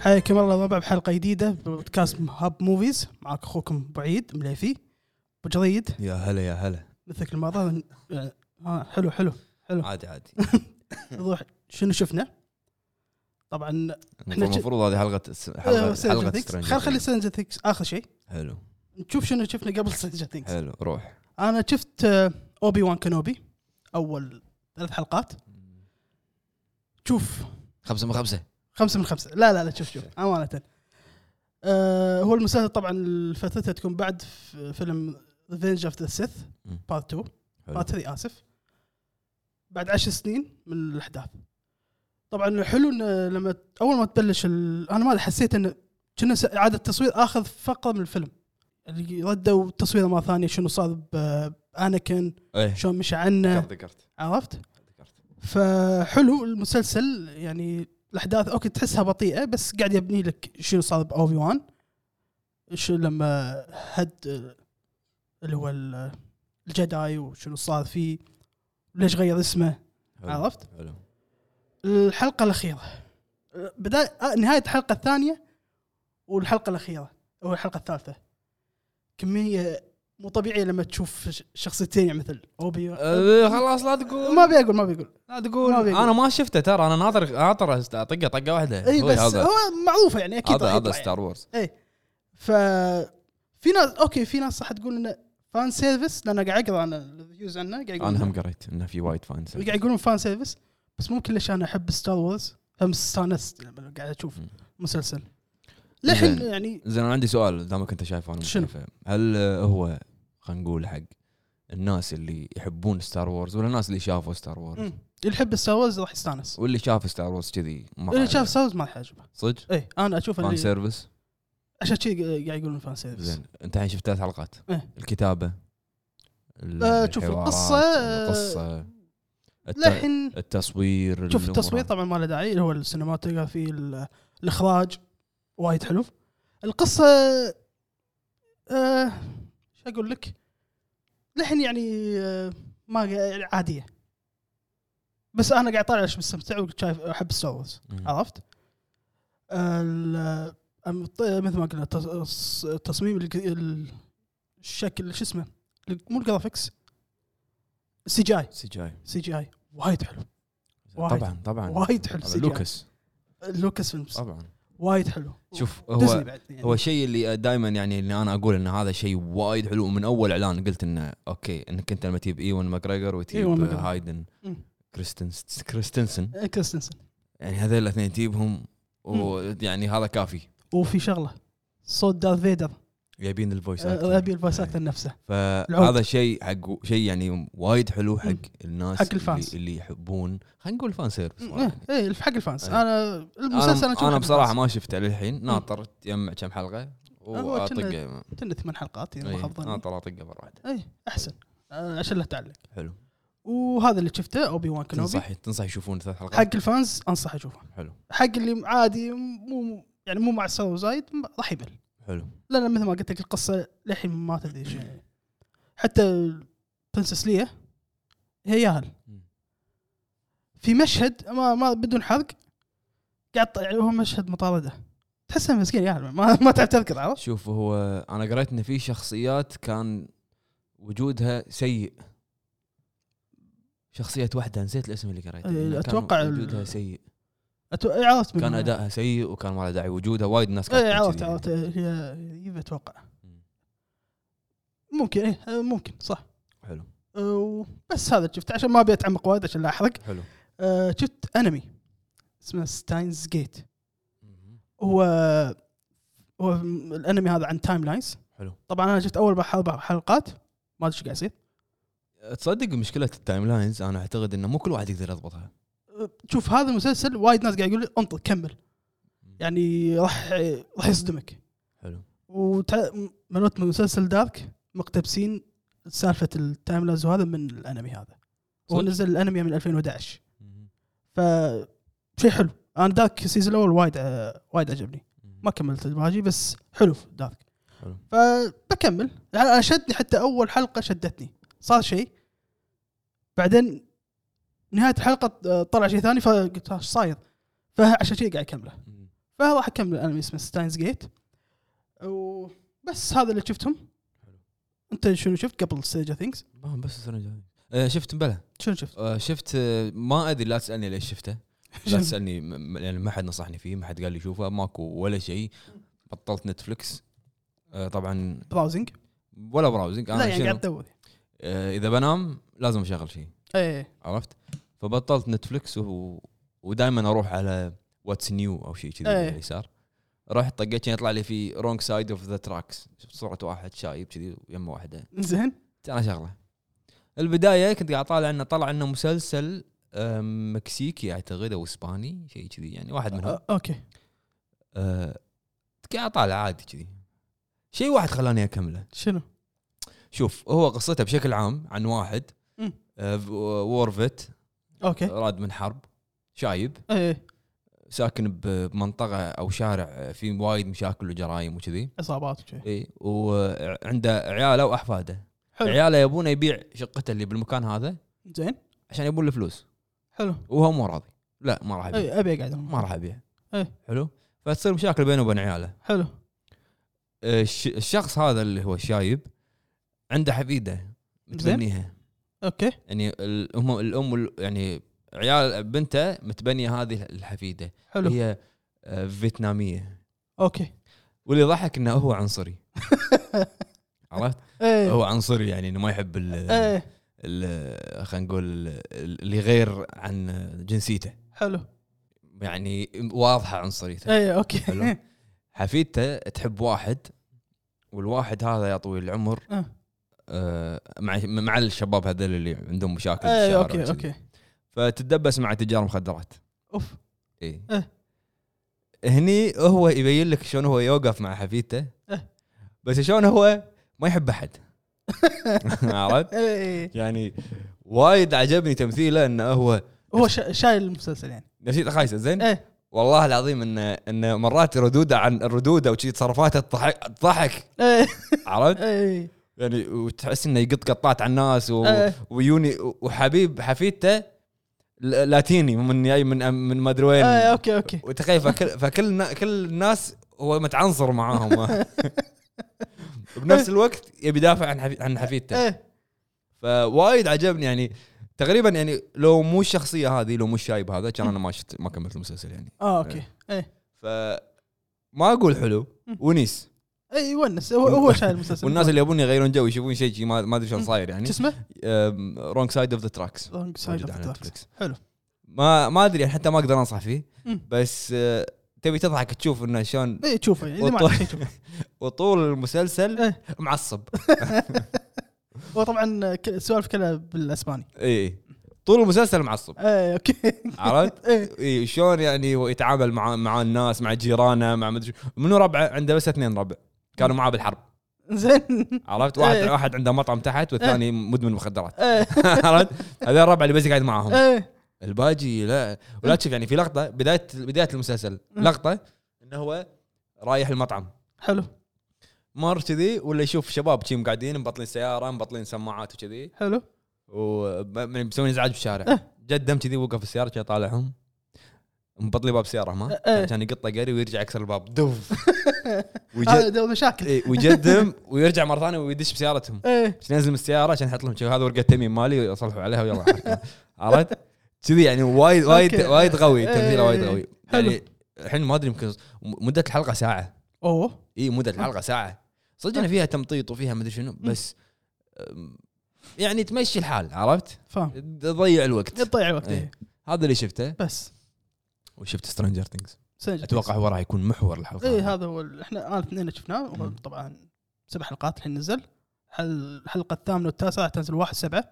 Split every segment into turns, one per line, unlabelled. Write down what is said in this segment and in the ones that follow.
حياكم الله مرحبا بحلقه جديده من بودكاست هاب موفيز معك اخوكم ابو عيد مليفي ابو جريد
يا هلا يا هلا
مثلك الماضي آه، آه، حلو حلو
عادي عادي
نروح شنو شفنا طبعا
المفروض- المفروض هذه حلقه س-
آه،
حلقه
Stranger
حلقه
Things.
Stranger
خل خلي
Things.
سنجر ثينكس اخر شيء
حلو
نشوف شنو شفنا قبل سنجر ثينكس
حلو روح
انا شفت آه، اوبي وان كانوبي اول ثلاث حلقات شوف
خمسة من خمسة
خمسة من خمسة لا لا لا شوف شوف أمانة آه هو المسلسل طبعا فترته تكون بعد ف- فيلم ريفنج اوف ذا سيث
مم.
بارت 2
حلو.
بارت 3 آسف بعد عشر سنين من الأحداث طبعا الحلو انه لما ت- أول ما تبلش ال... أنا ما أدري، حسيت انه كنا س- إعادة تصوير آخذ فقرة من الفيلم اللي ردوا تصويره مرة ثانية شنو صار ب- بأناكن
ايه
شلون مشى عنه
ذكرت
عرفت
ذكرت
فحلو المسلسل يعني الاحداث اوكي تحسها بطيئه بس قاعد يبني لك شنو صار باوفي وان شو لما هد اللي هو ال- الجداي وشنو صار فيه ليش غير اسمه
حلو.
عرفت؟
حلو
الحلقه الاخيره بدايه آه، نهايه الحلقه الثانيه والحلقه الاخيره او الحلقه الثالثه كميه مو طبيعيه لما تشوف ش- شخصيتين يعني مثل اوبي
أه، خلاص لا تقول
ما بيقول ما بيقول
لا تقول
ما بيقول.
انا ما شفته ترى انا ناطر ناطر أست- اطقه طقه واحده
اي
إيه، هو
إيه، بس
هذا
هو معروفه يعني اكيد
هذا
راح
هذا
يطلع يعني.
ستار وورز
ف في ناس اوكي في ناس صح تقول انه فان سيرفيس لان قاعد اقرا انا الريفيوز عنه قاعد
انا هم
يقولون
قريت انه في وايد فانز
قاعد يقولون فان سيرفيس بس مو كلش انا احب ستار وورز امس استانست لما قاعد اشوف
مم.
مسلسل للحين
زين.
يعني
زين انا عندي سؤال دامك انت شايفه انا مش
شنو؟
شايفه. هل آه، هو خلينا نقول حق الناس اللي يحبون ستار وورز ولا الناس اللي شافوا ستار وورز
مم. اللي يحب ستار وورز راح يستانس
واللي شاف ستار وورز كذي ما
اللي
راح
شاف ستار وورز ما راح يعجبه
صدق
اي انا اشوف
فان
اللي
سيرفيس
عشان كذي قاعد يقولون فان سيرفيس
زين انت الحين شفت ثلاث حلقات
إيه.
الكتابه
آه، شوف
الحوارات،
القصة، آه،
القصه الت-
للحين
التصوير
شوف
الأمور
التصوير
هذه.
طبعا ما له داعي اللي هو السينماتوغرافي ال- الاخراج وايد حلو القصه آه شو اقول لك لحن يعني آه ما يعني عاديه بس انا قاعد طالع ليش مستمتع وشايف احب ستار وورز
مم.
عرفت؟ ال- أم- ط- مثل ما قلنا تص- الص- التصميم الج- ال- الشكل شو اسمه مو الجرافكس سي جي اي
سي جاي
سي جي اي وايد حلو وايد.
طبعا طبعا
وايد حلو
طبعاً،
CGI.
لوكس
لوكس فيلمز
طبعا
وايد حلو
شوف
ديزني
هو
بعد يعني.
هو الشيء اللي دائما يعني اللي انا اقول ان هذا شيء وايد حلو ومن اول اعلان قلت انه اوكي انك انت لما تجيب ايون ماجريجر وتجيب
إيوان ماكغريغور.
هايدن
مم.
كريستنس كريستنسن
آه، كريستنسن
يعني هذول الاثنين تجيبهم ويعني هذا كافي
وفي شغله صوت دارث فيدر
جايبين الفويسات
آه، ابي الفايسات نفسه العود.
فهذا شيء حق شيء يعني وايد حلو حق
مم.
الناس
حق الفانس.
اللي, اللي يحبون خلينا نقول فان سيرفيس والله يعني.
اي حق إيه، الفانس
إيه.
انا المسلسل
انا,
أشوفه
أنا
حق
بصراحه
الفانس.
ما شفته للحين ناطر تجمع كم حلقه
هو
واطقه
كنا ثمان حلقات اذا ما
إيه،
خاب ظني
ناطر اطقه مره واحده
اي احسن آه، عشان لا تعلق
حلو
وهذا اللي شفته اوبي وان كنوبي
تنصح تنصح يشوفون ثلاث حلقات
حق الفانز انصح اشوفه
حلو
حق اللي عادي مو يعني مو مع السر وزايد م- راح يمل
حلو
لا لا مثل ما قلت لك القصه للحين ما تدري شو
إيه.
يعني. حتى برنسس ليا هي ياهل
مم.
في مشهد ما, ما بدون حرق قاعد طالع- يعني هو مشهد مطارده تحسها مسكين ياهل ما, ما تعرف تذكر عرفت
شوف هو انا قريت ان في شخصيات كان وجودها سيء شخصية واحدة نسيت الاسم اللي قريته
إيه،
إنه كان
أتوقع ال-
وجودها سيء
أتو- إيه، عرفت من-
كان ادائها سيء وكان ما له داعي وجودها وايد ناس كانت يعني.
ايه
تقول
عرفت
كذي.
عرفت هي هي اتوقع
مم.
ممكن ايه آه، ممكن صح
حلو
آه، بس هذا شفت عشان ما ابي اتعمق وايد عشان لا احرق
حلو
آه، شفت انمي اسمه ستاينز جيت هو هو الانمي هذا عن تايم لاينز
حلو
طبعا انا شفت اول اربع حلقات ما ادري ايش قاعد يصير
تصدق مشكلة التايم لاينز انا اعتقد انه مو كل واحد يقدر يضبطها
أه، شوف هذا المسلسل وايد ناس قاعد يقول لي انطر كمل يعني راح راح يصدمك
حلو
وتع... منوت من مسلسل دارك مقتبسين سالفه التايم لاينز وهذا من الانمي هذا هو
صدق؟
نزل الانمي من 2011
مم.
ف شيء حلو انا دارك السيزون الاول وايد آه، وايد عجبني
مم.
ما كملت الباقي بس حلو دارك
حلو
فبكمل يعني أنا شدني حتى اول حلقه شدتني صار شيء بعدين نهايه الحلقه آه، طلع شيء ثاني فقلت ها، ايش صاير فعشان شيء قاعد اكمله
مم.
فراح اكمل الانمي اسمه ستاينز جيت وبس هذا اللي شفتهم انت شنو شفت قبل سترينجر ثينجز؟
ما بس السنة الجاية. آه، شفت مبلى
شنو شفت؟
آه، شفت آه، ما ادري لا تسالني ليش شفته لا تسالني م- م- لان ما حد نصحني فيه ما حد قال لي شوفه ماكو ولا شيء بطلت نتفلكس آه، طبعا
براوزنج
ولا براوزنج
لا
انا
يعني قاعد
شنو
تدور
آه، اذا بنام لازم اشغل شيء
ايه
عرفت فبطلت نتفلكس و... ودائما اروح على واتس نيو او شيء كذي
إيه.
اليسار رحت طقيت كان يطلع لي في رونج سايد اوف ذا تراكس شفت صوره واحد شايب كذي ويم واحده
زين
انا شغله البدايه كنت قاعد طالع انه طلع انه مسلسل آم، مكسيكي اعتقد او اسباني شيء كذي يعني واحد منهم
آه، اوكي
آه، قاعد طالع عادي كذي شيء واحد خلاني اكمله
شنو؟
شوف هو قصته بشكل عام عن واحد
مم.
آه، ف- وورفت
اوكي
راد من حرب شايب
ايه
ساكن ب- بمنطقه او شارع فيه وايد مشاكل وجرايم وكذي
اصابات وشي
اي وعنده عياله واحفاده
حلو.
عياله يبونه يبيع شقته اللي بالمكان هذا
زين
عشان يبون الفلوس
حلو إيه،
وهو مو راضي لا ما راح ابيع
اي ابي اقعد
ما راح ابيع
إيه.
حلو فتصير مشاكل بينه وبين عياله
حلو
أه، الش- الشخص هذا اللي هو الشايب عنده حفيده متبنيها
اوكي
يعني الام الام وال- يعني عيال بنته متبنيه هذه الحفيده
حلو
هي أه، فيتناميه
اوكي
واللي ضحك انه هو عنصري عرفت؟
ايه
هو عنصري يعني انه ما يحب ال
ايه
ال- خلينا نقول ال- اللي غير عن جنسيته
حلو
يعني واضحه عنصريته
ايه اوكي
حلو. حفيدته تحب واحد والواحد هذا يا طويل العمر
آه.
آه مع مع الشباب هذول اللي عندهم مشاكل في
ايه
الشارع
اوكي
وكذي.
اوكي
فتتدبس مع تجار مخدرات
اوف
اي
إيه.
هني هو يبين لك شلون هو يوقف مع حفيدته
إيه.
بس شلون هو ما يحب احد عرفت؟
ايه
يعني وايد عجبني تمثيله انه هو
هو شا- شايل المسلسل يعني
نفسيته خايسه زين
إيه.
والله العظيم انه انه مرات ردوده عن الردوده وشي تصرفاته تضحك تضحك
ايه
عرفت؟
ايه
يعني وتحس انه يقط قطات على الناس و...
إيه.
ويوني وحبيب حفيدته ل- لاتيني من جاي من من ما ادري
ايه
وين
اوكي اوكي
وتخيل فكل فكل النا- كل الناس هو متعنصر معاهم بنفس الوقت يبي يدافع عن حفي... عن حفيدته
ايه
فوايد عجبني يعني تقريبا يعني لو مو الشخصيه هذه لو مو الشايب هذا كان انا ما شفت ما كملت المسلسل يعني
اه اوكي ايه
ف ما اقول حلو
مم.
ونيس
ايه يونس هو هو شايل المسلسل
والناس اللي يبون يغيرون جو يشوفون شيء شي ما ما ادري شلون صاير يعني
شو اسمه؟
رونج سايد اوف ذا تراكس
لونج سايد اوف حلو
ما ما ادري حتى ما اقدر انصح فيه
مم.
بس آه، تبي تضحك تشوف انه شلون
ايه تشوفه يعني اذا ما
وطو-
عندك شيء تشوفه
وطول المسلسل
إيه.
معصب
هو طبعا ك- السوالف كلها بالاسباني
اي طول المسلسل إيه. معصب
ايه اوكي
عرفت؟
ايه
اي شلون يعني هو يتعامل مع مع الناس مع جيرانه مع مدري شو. منو ربعه عنده بس اثنين ربع كانوا معاه بالحرب
زين
عرفت واحد
إيه.
واحد عنده مطعم تحت والثاني مدمن مخدرات
ايه
عرفت هذا الربع اللي بس قاعد معاهم
ايه
الباجي لا
إيه.
ولا تشوف يعني في لقطه بدايه بدايه المسلسل لقطه انه هو رايح المطعم
حلو
مر كذي ولا يشوف شباب كذي قاعدين مبطلين سياره مبطلين سماعات وكذي يعني
حلو
ومسوين ازعاج بالشارع
إيه.
جدم كذي وقف السياره كذي طالعهم مبطلي باب سياره ما
إيه.
عشان يقطه قري ويرجع يكسر الباب دف
هذا
ويجد
ده مشاكل
إيه، ويجدم ويرجع مره ثانيه ويدش بسيارتهم
ايه
عشان ينزل من السياره عشان يحط لهم شوف هذا ورقه تميم مالي صلحوا عليها ويلا حركة. عرفت؟ كذي يعني وايد وايد
أوكي.
وايد قوي تمثيله وايد
إيه.
قوي
حلو.
يعني الحين ما ادري يمكن مده الحلقه ساعه
اوه
اي مده الحلقه ساعه صدق
طيب.
إن فيها تمطيط وفيها مدري شنو بس أم، يعني تمشي الحال عرفت؟
فاهم
تضيع الوقت
تضيع وقت
إيه.
إيه.
هذا اللي شفته
بس
وشفت سترينجر ثينجز
سنجد.
اتوقع هو راح يكون محور الحلقه
ايه هذا هو ال- احنا انا اثنين شفناه وهو
مم.
طبعا سبع حلقات الحين نزل حل- الحلقه الثامنه والتاسعه راح تنزل 1 7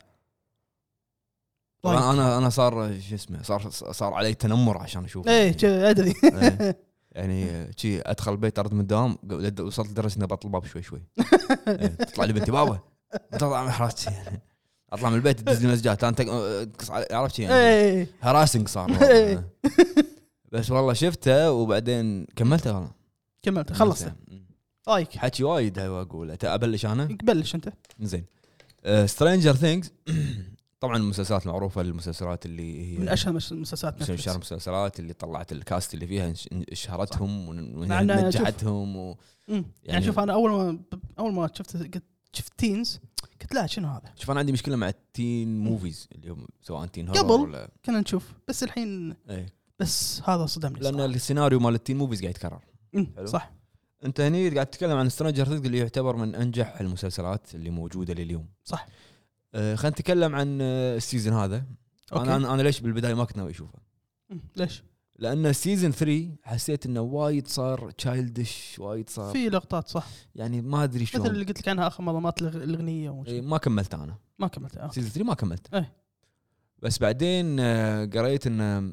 طيب.
طبعاً انا انا صار شو اسمه صار صار علي تنمر عشان اشوفه
ايه جا- ادري
إيه. يعني شي ادخل البيت ارد من الدوام قبل- وصلت لدرجه اني بطل باب شوي شوي إيه، تطلع لي بنتي بابا تطلع من حراستي يعني اطلع من البيت تدز لي مسجات لا انت تقص علي- عرفت شي يعني
ايه
هراسنج صار
إيه.
بس والله شفته وبعدين كملته والله
كملت
يعني
خلصت رايك
حكي
إيه.
وايد هو اقوله تا- ابلش انا
بلش انت
آه، زين سترينجر ثينجز طبعا المسلسلات معروفه المسلسلات اللي هي
من اشهر المسلسلات
بس انشهر
نتفلكس
المسلسلات اللي طلعت الكاست اللي فيها انش- ان- شهرتهم
مع إن أنا
ونجحتهم و...
يعني, يعني
يعني-
شوف انا اول ما اول ما شفت قلت شفت تينز قلت لا شنو هذا؟
شوف انا عندي مشكله مع التين موفيز اللي هم سواء تين هورر
قبل.
ولا
كنا نشوف بس الحين
ايه
بس هذا صدمني
لان
صراحة.
السيناريو مال التين موفيز قاعد يتكرر
أمم،
حلو.
صح
انت هني قاعد تتكلم عن سترينجر ثينجز اللي يعتبر من انجح المسلسلات اللي موجوده لليوم
صح
أه خلينا نتكلم عن آه، السيزون هذا
أوكي.
انا انا ليش بالبدايه ما كنت ناوي اشوفه
أمم، ليش؟
لان سيزون 3 حسيت انه وايد صار تشايلدش وايد صار
في لقطات صح
يعني ما ادري طيب. شلون
مثل اللي قلت لك عنها اخر مظلمات الأغ- الاغنيه وش-
إيه، ما كملت انا
ما كملت آه.
سيزون 3 ما كملت
إيه.
بس بعدين آه، قريت ان آه،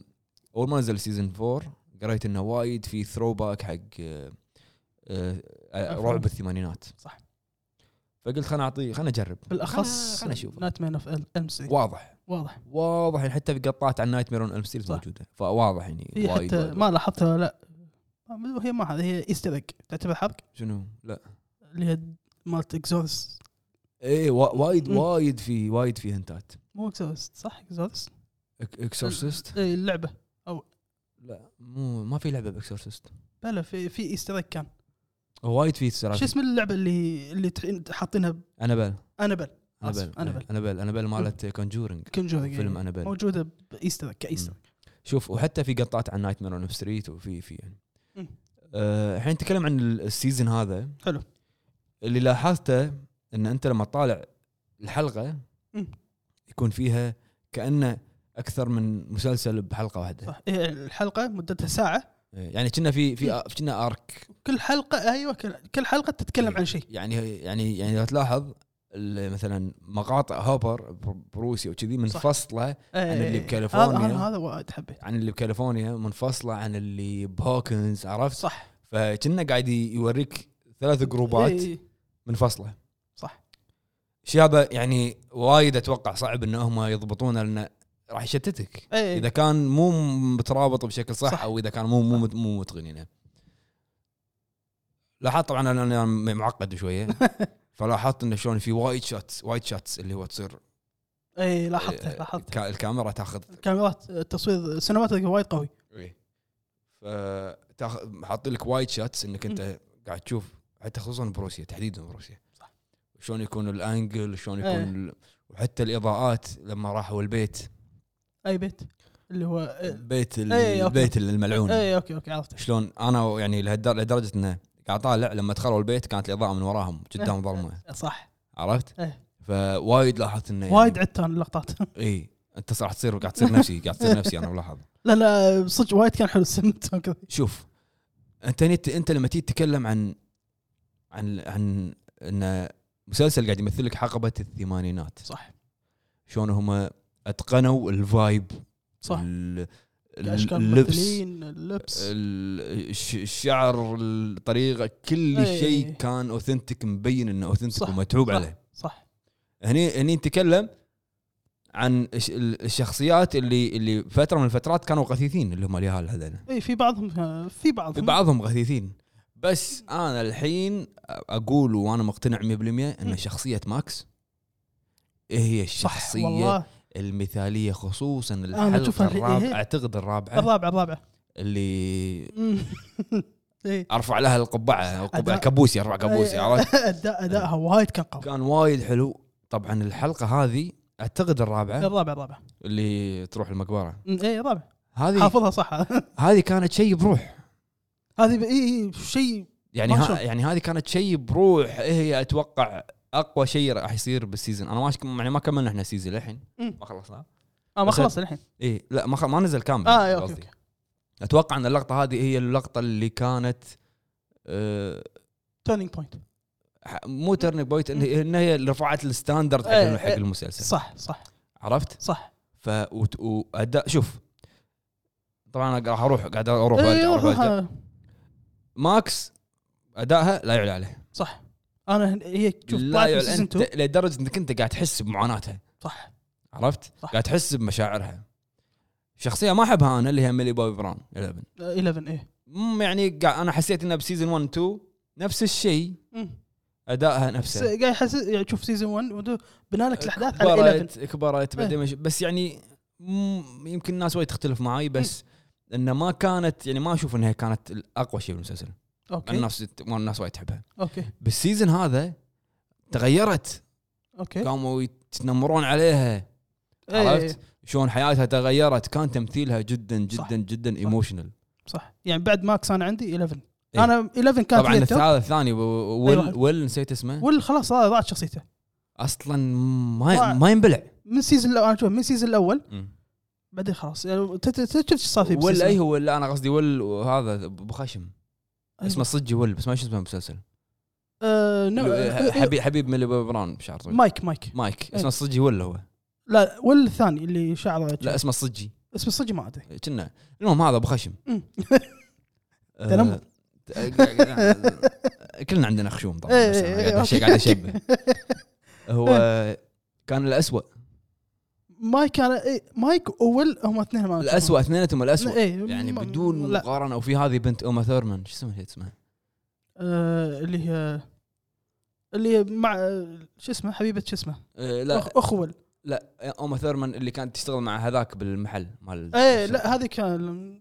اول ما نزل سيزون 4 قريت انه وايد في ثرو باك حق آه، آه، آه،
أفلام.
رعب الثمانينات
صح.
فقلت خلنا اعطيه خلنا اجرب
بالاخص
خلنا نشوفه.
نايت مان اوف الم سي
واضح
واضح
واضح يعني حتى في قطات عن نايت مير اون الم ستريت
صح.
موجوده فواضح يعني
هي
وايد
حتى
وايد.
ما لاحظتها لا ما- هي ما هذا هي ايستر ايج تعتبر حرق
شنو لا
اللي هي مالت اكزورس
ايه وا- وايد
مم.
وايد في وايد في هنتات
مو اكزورس صح اكزورس
اكسورسيست
إيه، اللعبه
لا مو ما في لعبه باكسورسيست
بلا في في ايستر ايج كان
وايد في
شو
سلاسل
اسم اللعبه اللي اللي تح- حاطينها
انابل
انابل
انابل
آسف، Annabelle.
انابل انابل مالت كونجورنج
كونجورينج
إيه. فيلم انابل
موجوده بايستر ايج كايستر إيج.
شوف وحتى في قطات عن نايت مير اون ستريت وفي في يعني
مم.
آه، الحين نتكلم عن ال- السيزون هذا
حلو.
اللي لاحظته ان انت لما تطالع الحلقه
مم.
يكون فيها كانه اكثر من مسلسل بحلقه واحده
صح إيه، الحلقه مدتها ساعه
إيه، يعني كنا في في كنا ارك
كل حلقه ايوه كل, كل حلقه تتكلم
إيه.
عن شيء
يعني يعني يعني لو تلاحظ ال- مثلا مقاطع هوبر بر- بروسي وكذي منفصله
إيه،
اللي
إيه. هذا-
بكاليفورنيا.
هذا هذا وايد حبيت
عن اللي بكاليفورنيا منفصله عن اللي بهوكنز عرفت؟
صح
فكنا قاعد ي- يوريك ثلاث جروبات
إيه،
منفصله
صح.
شيء هذا يعني وايد اتوقع صعب ان هم يضبطونه لانه راح يشتتك
إيه.
اذا كان مو مترابط بشكل صح,
صح.
صح. او اذا كان مو مو مت- مو متقن يعني لاحظت طبعا انا انا معقد شويه فلاحظت انه شلون في وايد شوتس وايد شوتس اللي هو تصير
اي لاحظته
آه،
لاحظته
كا- الكاميرا تاخذ
إيه، كاميرات التصوير سينماتيك وايد قوي
ايه فتاخذ حاطين لك وايد شاتس انك انت قاعد تشوف حتى خصوصا بروسيا تحديدا بروسيا
صح.
شلون يكون الانجل شلون يكون
إيه.
ال- وحتى الاضاءات لما راحوا البيت
اي بيت اللي هو إيه، آه،
البيت ال-
إيه، أوكي.
البيت الملعون
اي اوكي اوكي عرفته
شلون انا يعني لهالدر- لدرجه انه قاعد طالع لما دخلوا البيت كانت الاضاءه من وراهم قدام ظلمه
صح
عرفت؟
إيه.
فوايد لاحظت يعني، انه يعني-
وايد عدت انا اللقطات
اي انت راح تصير قاعد تصير نفسي قاعد تصير نفسي انا ملاحظ
لا لا صدق وايد كان حلو السمت وكذا
شوف انت نت انت لما تيجي تتكلم عن عن عن ان مسلسل قاعد يمثل لك حقبه الثمانينات
صح
شلون هم اتقنوا الفايب
صح
ال- ال-
الاشكال
اللبس
الممثلين اللبس
ال- الش- الشعر الطريقه كل
إي.
شيء كان اوثنتك مبين انه اوثنتك
إيه. صح،
ومتعوب
صح.
عليه
صح
هني هني نتكلم عن الش- الشخصيات اللي اللي فتره من الفترات كانوا غثيثين اللي هم اليهال هذول
اي في بعضهم آه، في بعضهم
بعضهم غثيثين بس انا الحين اقول وانا مقتنع 100%
مم.
ان شخصيه ماكس
صح
هي الشخصيه
والله
المثاليه خصوصا
أشوفها
الحلقه
الحين-
الرابعه
إيه.
اعتقد الرابعه
الرابعه الرابعه
اللي
اي
ارفع لها القبعه القبعه
أداء.
كابوسي ارفع كابوسي عرفت
اداء ادائها وايد كان قوي
كان وايد حلو طبعا الحلقه هذه اعتقد الرابعه
الرابعه الرابعه
اللي تروح المقبره
اي الرابعه
هذه
إيه، حافظها صح
هذه كانت شيء بروح
هذه اي شيء
يعني
ما
ها
شاء.
يعني هذه كانت شيء بروح إيه هي اتوقع اقوى شيء راح يصير بالسيزون انا ما أشك- يعني ما كملنا احنا السيزون للحين
مم.
ما خلصنا
اه ما
بس-
خلصت الحين
اي لا ما خ... ما نزل كامل
اه إيه، اوكي
قصدي.
اوكي
اتوقع ان اللقطه هذه هي اللقطه اللي كانت آه
تيرنينج بوينت
ح- مو ترنينج بوينت إن- ان هي اللي رفعت الستاندرد حق
إيه،
الم- حق
إيه.
المسلسل
صح صح
عرفت؟
صح
ف وت- واداء شوف طبعا انا راح اروح قاعد اروح وارجع
إيه،
اروح وارجع
روحها.
ماكس ادائها لا يعلى عليه
صح انا هن- هي شوف
لا
طلعت من
يعلى
سيزون 2
انت لدرجه انك انت قاعد تحس بمعاناتها
صح
عرفت؟
صح.
قاعد تحس بمشاعرها. شخصية ما احبها انا اللي هي ميلي بوبي براون 11
آه، 11 ايه
مم، يعني قاعد انا حسيت انها بسيزون 1 2 نفس الشيء
مم.
ادائها
بس
نفسه
قاعد يحس يعني تشوف سيزون 1 وده بنى لك الاحداث على إيه. 11
كبرت كبرت بعدين مش- بس يعني مم، يمكن الناس وايد تختلف معاي بس انه ما كانت يعني ما اشوف انها كانت الاقوى شيء بالمسلسل
اوكي
الناس الناس وايد تحبها
اوكي
بالسيزون هذا تغيرت
اوكي
قاموا يتنمرون عليها
إيه،
عرفت؟ شلون حياتها تغيرت كان تمثيلها جدا
صح.
جدا جدا ايموشنال
صح يعني بعد ماكس انا عندي 11
إيه.
انا 11 كانت
طبعا
هي التوب
الثالث الثاني و-
أيوة.
ويل ويل نسيت اسمه
ولا خلاص هذا ضاعت شخصيته
اصلا
ما-
ما ما ينبلع
من السيزون الاول انا أشوف من السيزون الاول بعدين خلاص يعني ت- ت- شفت ايش صار فيه
ويل
بالسيزون.
اي هو لا انا قصدي ويل وهذا ابو خشم
أيوة.
اسمه صدق ويل بس ما شو اسمه المسلسل
آه، نو- آه، آه،
حبيب حبيب من اللي ببران بشعر طويل
مايك مايك
مايك
إيه.
اسمه الصجي ولا هو
لا ولا الثاني اللي شعره
لا اسمه الصجي
اسمه صدق ما ادري
كنا المهم هذا ابو خشم
مم.
آه،
تنمر.
آه، كلنا عندنا خشوم طبعا
إيه،
بس
إيه،
أنا
إيه،
قاعد
أوكي. إيه.
أشي- قاعد اشبه هو كان الاسوء
مايك كان إيه، مايك وول هم اثنين ما
الاسوء اثنيناتهم الاسوء
إيه،
يعني
ما-
بدون
لا
مقارنه وفي هذه بنت اوما ثورمان شو اسمها هي اسمها
آه، اللي هي اللي مع آه، شو اسمه حبيبه شو اسمه
آه، لا
أخ- اخ وول
لا اوما ثورمان اللي كانت تشتغل مع هذاك بالمحل مال
ايه لا هذه كان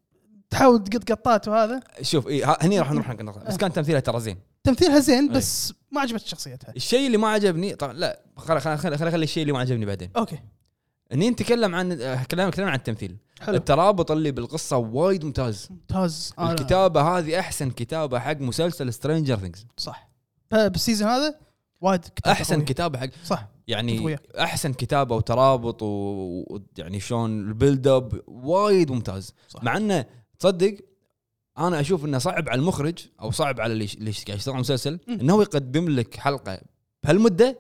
تحاول تقط قطات وهذا
شوف إيه ها- هني راح نروح حق النقطه
إيه.
بس كان تمثيلها ترى زين
تمثيلها
إيه.
زين بس ما عجبت شخصيتها
الشيء اللي ما عجبني طبعا لا خل خل خل خل اخلي الشيء اللي ما عجبني بعدين
اوكي
اني نتكلم عن آه، كلام كلام عن التمثيل
حلو آه،
الترابط اللي بالقصه وايد ممتاز
ممتاز أنا-
الكتابه هذه احسن كتابه حق مسلسل سترينجر ثينجز
صح بالسيزون هذا وايد كتابة
احسن
قوية.
كتابه حق
صح أتفق
يعني
وياك.
احسن كتابه وترابط و- ويعني شلون البيلد اب وايد ممتاز
صح.
مع انه تصدق انا اشوف انه صعب على المخرج او صعب على اللي ش- اللي قاعد يشتغل على المسلسل
مم.
انه هو يقدم لك حلقه بهالمده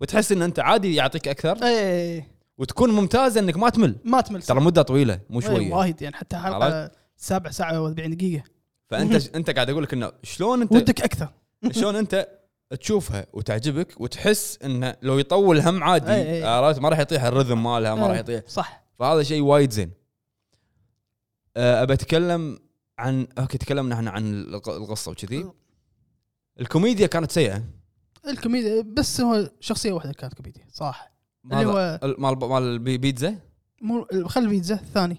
وتحس ان انت عادي يعطيك اكثر
اي اي اي
وتكون ممتازه انك ما تمل
إيه، ما تمل
ترى مده طويله مو
إيه،
شويه
وايد يعني حتى حلقه سابع ساعه و40 دقيقه
فانت انت قاعد اقول لك انه شلون انت
ودك اكثر
شلون انت تشوفها وتعجبك وتحس انه لو يطول هم
اي اي.
عادي عرفت ما راح يطيح الرذم مالها
إيه.
ما راح يطيح
صح
فهذا شيء وايد زين أه، ابى اتكلم عن اوكي تكلمنا احنا عن الق- القصه وكذي الكوميديا كانت سيئه
الكوميديا بس هو شخصيه واحده كانت كوميديا صح اللي
مال
هو
ال- مال مال البي- بيتزا
مو خل البيتزا الثاني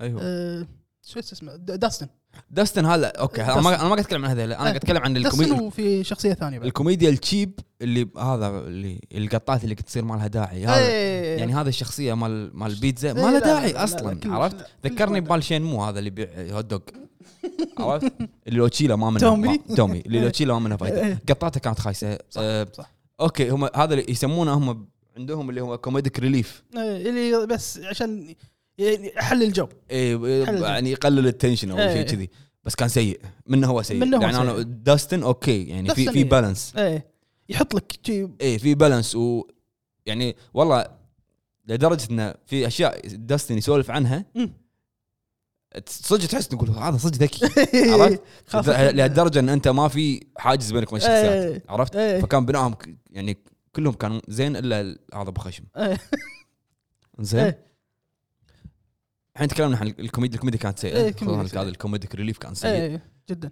ايوه
أه، شو اسمه د- داستن
داستن هلا اوكي انا ما
داستن.
انا ما قاعد اتكلم عن هذا انا قاعد
ايه.
اتكلم عن
داستن
الكوميديا
وفي شخصيه ثانيه بعد
الكوميديا التشيب اللي هذا اللي القطات اللي تصير مالها داعي هذا
ايه.
يعني هذه الشخصيه مال مال بيتزا
إيه،
ما له
لا، لا،
داعي
لا، لا،
اصلا
كلش لا،
عرفت
كلش
ذكرني
ما
بمال شينمو هذا اللي يبيع هوت دوغ عرفت اللي لو تشيله ما منه
تومي.
ما- تومي اللي لو تشيله ما منه
إيه.
فايده قطاته كانت خايسه آه،
صح.
اوكي هم هذا اللي يسمونه هم عندهم اللي هو كوميديك ريليف
إيه، اللي بس عشان يعني احل الجو حلو.
يعني يقلل التنشن او
إيه.
شيء كذي بس كان سيء منه هو سيء
منه هو
يعني انا
سيء.
داستن اوكي يعني في
داستن
في
إيه.
بالانس
ايه يحط لك شي-
ايه في بالانس و يعني والله لدرجه انه في اشياء داستن يسولف عنها
مم.
صدق تحس تقول هذا صدق ذكي
إيه.
عرفت؟
خاصة-
لهالدرجه ان انت ما في حاجز بينك وبين الشخصيات
إيه.
عرفت؟
إيه.
فكان بنائهم ك- يعني كلهم كانوا زين الا ال- هذا ابو خشم
إيه.
زين
إيه.
الحين تكلمنا عن الكوميديا الكوميديا كانت
إيه،
سيئه
الكوميديا
خصوصا
سيئة.
هذا الكوميديك ريليف كان سيء
ايه جدا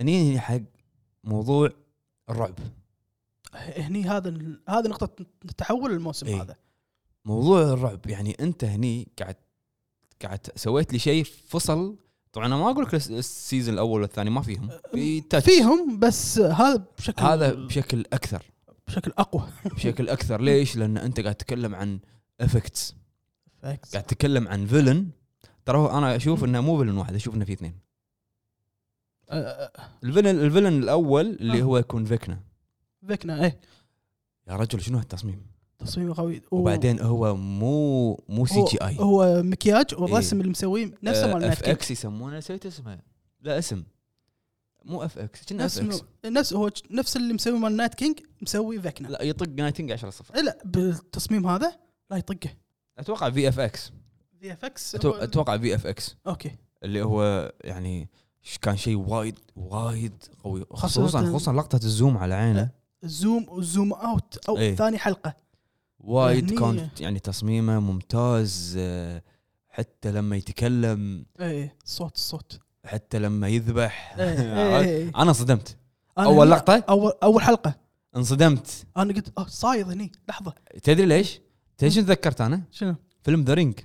هني حق موضوع الرعب
هني هذا ال- هذا نقطه تحول الموسم
إيه.
هذا
موضوع الرعب يعني انت هني قاعد قاعد سويت لي شيء فصل طبعا انا ما اقول لك الس- السيزون الاول والثاني ما فيهم في touch.
فيهم بس هذا بشكل
هذا بشكل اكثر
بشكل اقوى
بشكل اكثر ليش؟ لان انت قاعد تتكلم عن افكتس
فاكس.
قاعد تتكلم عن فيلن ترى هو انا اشوف انه مو فيلن واحد اشوف انه في اثنين
آه،
الفيلن الفيلن الاول اللي هو يكون فيكنا
فيكنا ايه
يا رجل شنو هالتصميم
تصميم قوي و-
وبعدين هو مو مو سي
هو-
جي اي
هو مكياج
إيه.
والرسم اللي مسويه نفسه مال
اف
نايت كينج
اكس آه، يسمونه نسيت اسمه لا اسم مو اف اكس كنا اف اكس
نفس نفس هو نفس اللي مسويه مال نايت كينج مسوي فيكنا
لا يطق نايتنج 10 صفر
إيه، لا بالتصميم هذا لا يطقه
اتوقع في اف اكس
في اف اكس
اتوقع في اف اكس
اوكي
اللي هو يعني ش- كان شيء وايد وايد قوي خصوصا
خاصة- أه.
خصوصا لقطه الزوم على عينه
الزوم والزوم اوت او
إيه.
ثاني حلقه
وايد
مهنية.
كان يعني تصميمه ممتاز آه، حتى لما يتكلم
ايه إيه، صوت الصوت
حتى لما يذبح
إيه، إيه، إيه.
انا صدمت
أنا
اول
هني-
لقطه
اول اول حلقه
انصدمت
انا قلت اه صايد هني لحظه
تدري ليش؟ تدري شنو تذكرت انا؟
شنو؟
فيلم ذا رينج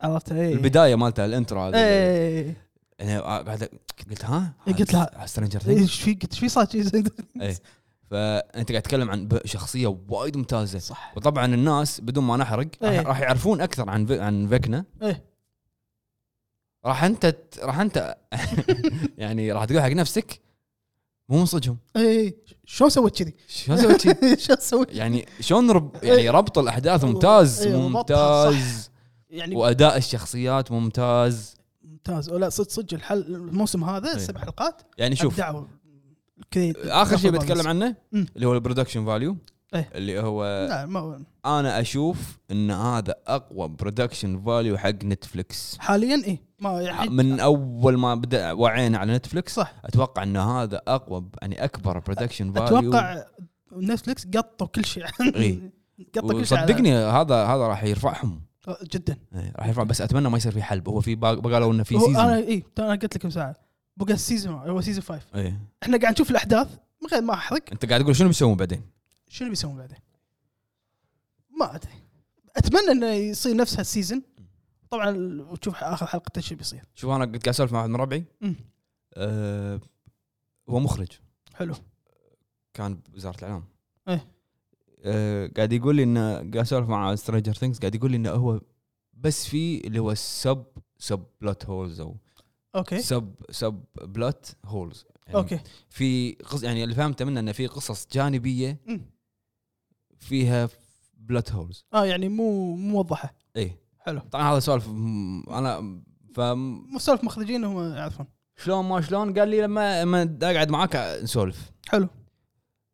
عرفت إيه. اي
البدايه مالته الانترو هذا
اي
يعني قاعد أ- قلت ها؟
إيه، قلت لها.
سترينجر
إي،
ثينجز
ايش في قلت ايش في صار
إيه. فانت قاعد تتكلم عن ب- شخصيه وايد ممتازه
صح
وطبعا الناس بدون ما نحرق راح-
إيه.
راح يعرفون اكثر عن في- عن فيكنا
ايه
راح انت ت- راح انت يعني راح تقول حق نفسك مو من صدقهم
اي شلون إيه، سويت كذي؟
شلون سويت شي؟
شلون سويت؟
يعني شلون رب يعني ربط الاحداث ممتاز
إيه، ربطها
ممتاز
يعني
واداء الشخصيات ممتاز
ممتاز ولا صدق صدق الحل الموسم هذا
إيه.
سبع حلقات
يعني شوف
ابدعوا كذي
اخر شيء بتكلم عنه
مم.
اللي هو البرودكشن فاليو
إيه.
اللي هو
لا ما
انا اشوف ان هذا اقوى برودكشن فاليو حق نتفلكس
حاليا اي ما يعني
من اول ما بدا وعينا على نتفلكس
صح.
اتوقع ان هذا اقوى يعني اكبر برودكشن فاليو
اتوقع نتفلكس قطوا كل شيء
إي.
قطوا كل شيء على-
صدقني إيه. هذا هذا راح يرفعهم
جدا
إيه، راح يرفع بس اتمنى ما يصير في حلب هو في باق- قالوا انه في
هو انا
سيزون
اي انا قلت لك من ساعه بقى السيزون هو سيزون 5
إيه.
احنا قاعد نشوف الاحداث من غير ما احرق
انت قاعد تقول شنو بيسوون بعدين
شنو بيسوون بعدين؟ ما ادري اتمنى انه يصير نفس هالسيزون طبعا ال- وتشوف اخر حلقه شو بيصير
شوف انا كنت قاعد اسولف مع واحد من ربعي
أمم،
أه هو مخرج
حلو
كان بوزاره الاعلام
إيه.
أه قاعد يقول لي انه قاعد اسولف مع سترينجر ثينكس قاعد يقول لي انه هو بس في اللي هو السب سب بلوت هولز او
اوكي
سب سب بلوت هولز يعني
اوكي
في قص يعني اللي فهمته منه انه في قصص جانبيه
أمم.
فيها بلوت هولز
اه يعني مو مو موضحه
اي
حلو
طبعا إيه. هذا سوالف م- انا فم
مسولف مخرجين هم يعرفون
شلون ما شلون قال لي لما لما اقعد معاك نسولف
حلو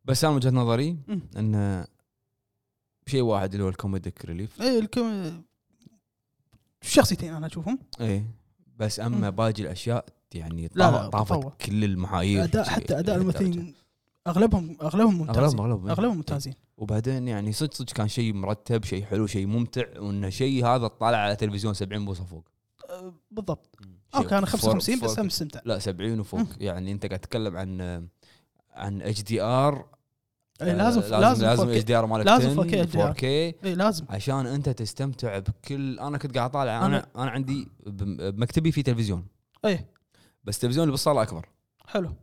بس انا وجهه نظري
أمم.
انه شيء واحد اللي هو الكوميديك ريليف
اي إيه، الكم شخصيتين انا اشوفهم
اي إيه. بس اما باقي الاشياء يعني
لا،
لا
لا،
طافت
تطور.
كل المعايير
اداء
شيء-
حتى اداء
إيه،
الممثلين اغلبهم اغلبهم
اغلبهم
ممتازين
اغلبهم
اغلبهم ممتازين
إيه. وبعدين يعني صدق صدق كان شيء مرتب شيء حلو شيء ممتع وانه شيء هذا طالع على تلفزيون 70 بوصه فوق
أه، بالضبط
شيء
اه كان
فور-
55 بس
فور-
هم مستمتع
لا 70 وفوق
مم.
يعني انت قاعد تتكلم عن عن اتش دي ار
إيه، لازم
آه، لازم لازم اتش
لازم
دي ار مالك
لازم
10
4K
4K
اي لازم
عشان انت تستمتع بكل انا كنت قاعد طالع انا انا عندي بم- بمكتبي في تلفزيون
اي
بس التلفزيون اللي بالصاله اكبر
إيه، حلو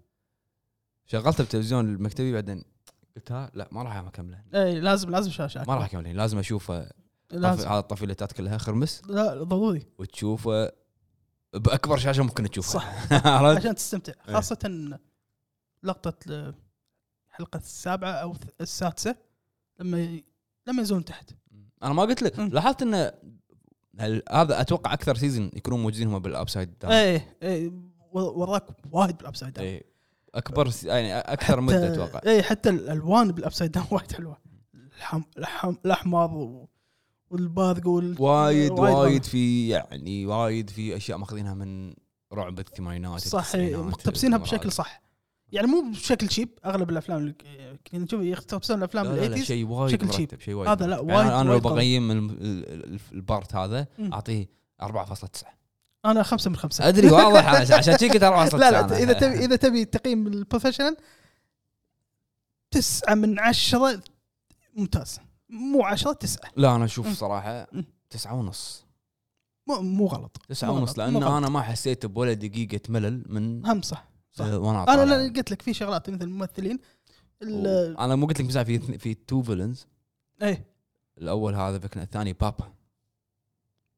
شغلته بالتلفزيون المكتبي بعدين قلت ها لا ما راح اكمله
اي إيه، لازم لازم شاشه
ما
أكبر.
راح اكمله لازم اشوفه طفي-
لازم
هذا الطفيلتات كلها خرمس
لا ضروري
وتشوفه باكبر شاشه ممكن تشوفها
صح.
عرفت؟
عشان تستمتع
إيه.
خاصه لقطه ال- الحلقه السابعه او الث- السادسه لما ي- لما ينزلون تحت
انا ما قلت لك
مم.
لاحظت انه هل- هذا اتوقع اكثر سيزون يكونون موجودين هم بالابسايد داون
اي اي و- وراك إيه، وايد بالابسايد داون
إيه. اكبر س- يعني اكثر مده اتوقع
اي إيه، حتى الالوان بالابسايد داون وايد حلوه الحم... الحم... الاحمر و... والباذق وال...
وايد وايد
وايد.
في يعني وايد في اشياء ماخذينها من رعب الثمانينات
صح إي،
التسعينات،
مقتبسينها
المراحل.
بشكل صح يعني مو بشكل شيب اغلب الافلام اللي كنا نشوف يعني يقتبسون
لا
الافلام
لا, لا
الايتيز
شيء وايد
بشكل
مرتب شيء وايد
هذا لا،
مرتب.
وايد-
يعني انا لو
وايد قوي.
بقيم ال- ال- ال- البارت هذا
مم.
اعطيه 4.9
انا خمسة من خمسة
ادري واضح عشان كذي قلت 4.9
لا لا
أنا.
اذا تبي اذا تبي تقييم البروفيشنال تسعة من عشرة ممتاز مو عشرة تسعة
لا انا
مم.
اشوف صراحه
مم.
تسعة ونص
مو, مو غلط
تسعة
مو
ونص
غلط، مو
لان
غلط.
انا ما حسيت بولا دقيقه ملل من
هم صح صح.
آه، وانا
انا
طالع.
لا قلت لك في شغلات مثل الممثلين ال-
انا مو قلت لك مساعد في اثن- في تو فيلنز
ايه
الاول هذا فكنا الثاني بابا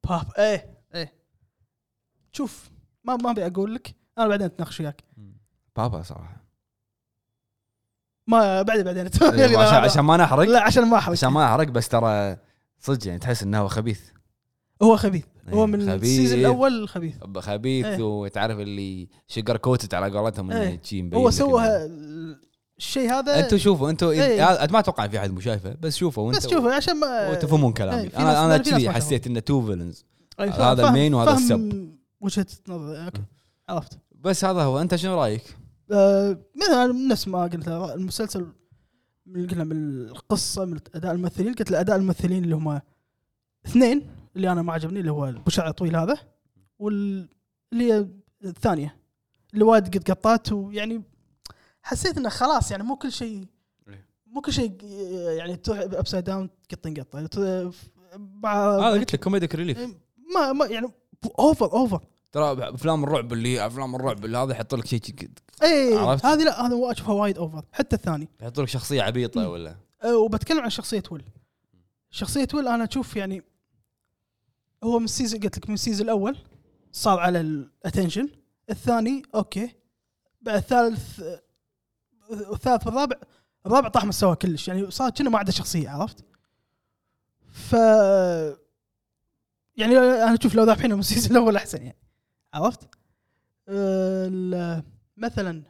باب ايه ايه شوف ما ما ابي اقول لك انا بعدين اتناقش وياك
بابا صراحه
ما بعدين بعدين
إيه، عشان عشان ما نحرق
لا عشان ما احرق
عشان ما نحرق بس ترى صدق يعني تحس انه هو خبيث
هو خبيث هو
إيه،
من
خبيث.
السيزون الاول خبيث
ب- خبيث
إيه.
وتعرف اللي شجر كوتت على قولتهم إنه
إيه.
شي مبين
هو
لك
سوى
إنه-
الشيء هذا
انتم شوفوا انتم
إيه.
إيه. ما اتوقع في احد مشايفه بس شوفوا انتم
بس شوفه عشان ما
وتفهمون كلامي
إيه، في ناس-
انا انا
في ناس ما
كذي
فهموا.
حسيت انه تو فيلنز
أي فاهم-
هذا
فاهم-
المين وهذا
فاهم
السب.
وجهه نظر اوكي عرفت
بس هذا هو انت شنو رايك؟
آه، مثلا نفس ما قلت لها، المسلسل من قلنا من القصه من اداء الممثلين قلت له اداء الممثلين اللي هم اثنين اللي انا ما عجبني اللي هو ابو شعر طويل هذا واللي هي الثانيه اللي وايد قد قطات ويعني حسيت انه خلاص يعني مو كل شيء
إيه.
مو كل شيء يعني تروح ابسايد داون تقطن قطه
هذا
يعني مع-
قلت لك كوميديك
إيه.
ريليف
ما ما يعني اوفر اوفر
ترى افلام الرعب اللي افلام الرعب اللي هذا يحط لك شيء
اي
عرفت؟
إيه، هذه لا هذا اشوفها وايد اوفر حتى الثاني
يحط لك شخصيه عبيطه ولا
أه، وبتكلم عن شخصيه ويل شخصيه ويل انا اشوف يعني هو من السيزون قلت لك من السيزون الاول صار على الاتنشن الثاني اوكي بعد الثالث أه، الثالث والرابع الرابع طاح مستواه كلش يعني صار كأنه ما عنده شخصيه عرفت؟ ف يعني انا اشوف لو ذابحينه من السيزون الاول احسن يعني عرفت؟ أه، ال- مثلا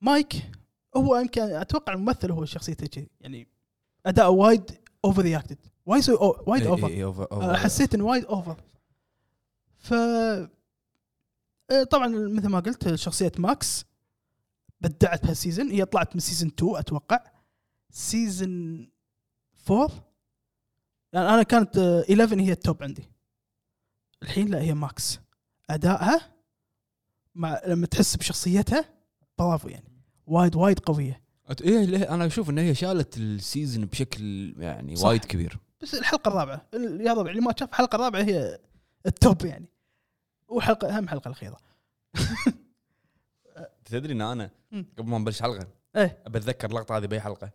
مايك هو يمكن اتوقع الممثل هو شخصيته كذي يعني اداءه وايد اوفر رياكتد وايد يسوي أو- وايد
إيه،
اوفر آه، حسيت انه وايد اوفر ف آه، طبعا مثل ما قلت شخصيه ماكس بدعت بهالسيزون هي طلعت من سيزون 2 اتوقع سيزون 4 لان انا كانت آه، 11 هي التوب عندي الحين لا هي ماكس ادائها مع لما تحس بشخصيتها برافو يعني وايد وايد قويه
ايه ليه؟ انا اشوف ان هي شالت السيزون بشكل يعني
صح.
وايد كبير
بس الحلقه الرابعه ال- يا ربع اللي ما شاف الحلقه الرابعه هي التوب يعني وحلقه اهم حلقه الاخيره
تدري ان انا
مم.
قبل ما نبلش حلقه
إيه.
بتذكر اللقطه هذه باي حلقه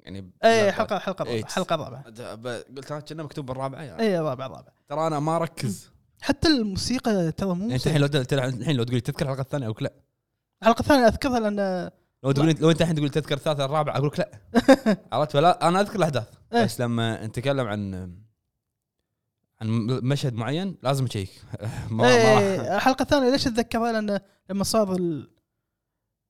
يعني
اي
لقطة.
حلقه حلقه الرابعة،
إيه.
حلقه الرابعه
أد- ب- قلت ها كنا مكتوب بالرابعه يعني.
اي الرابعه الرابعه
ترى انا ما اركز
إيه، حتى الموسيقى ترى مو
يعني انت الحين لو تل- تل- الحين لو تقول لي تذكر الحلقه الثانيه اقول لك لا
الحلقه الثانيه اذكرها لان
لو تقول لو انت الحين تقول لي تذكر الثالثه الرابعه اقول لك لا عرفت فلا انا اذكر الاحداث
إيه.
بس لما نتكلم عن عن مشهد معين لازم تشيك ما ما راح
إيه، الحلقه الثانيه ليش اتذكرها لان لما صار ال-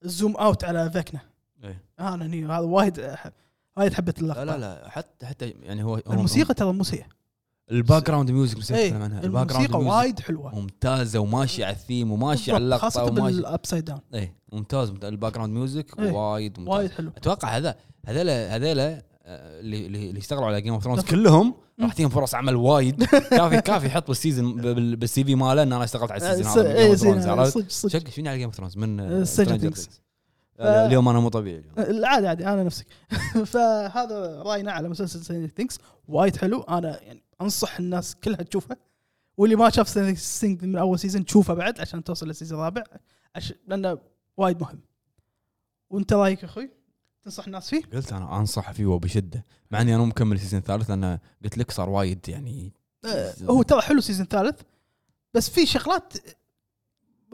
الزوم اوت على فيكنا
إيه.
انا هني هذا وايد أح- وايد حبيت اللقطه
لا لا لا حتى حتى يعني هو هو-
الموسيقى ترى مو سيئه
الباك جراوند ميوزك بس
إيه،
نتكلم عنها الباك
الموسيقى
جراوند ميوزك
وايد حلوه
ممتازه وماشيه على الثيم وماشيه على
بالضبط،
اللقطه
خاصه
وماشي
بالابسايد داون
ايه ممتاز ممتاز الباك جراوند ميوزك
إيه.
وايد ممتاز
وايد حلو
اتوقع هذا هذيلا هذيلا آه، اللي اللي اللي اشتغلوا على جيم اوف ثرونز كلهم راح تجيهم فرص عمل وايد كافي كافي يحط بالسيزون بال- بالسي في ماله ان انا اشتغلت على السيزون هذا
إيه،
جيم اوف
زين،
ثرونز عرفت؟
صدق صدق
شك شنو على جيم اوف ثرونز من
آه،
آه،
Stranger
Stranger
Things.
Things. آه،
ف- آه.
اليوم انا مو طبيعي اليوم.
العادي عادي انا نفسك فهذا راينا على مسلسل سترينجر ثينكس وايد حلو انا يعني انصح الناس كلها تشوفه واللي ما شاف سترينجر ثينكس من اول سيزون تشوفه بعد عشان توصل للسيزون الرابع عش... لانه وايد مهم وانت رايك يا اخوي تنصح الناس فيه
قلت انا انصح فيه وبشده مع اني انا مو مكمل السيزون الثالث لان قلت لك صار وايد يعني
آه هو ترى حلو سيزون ثالث بس في شغلات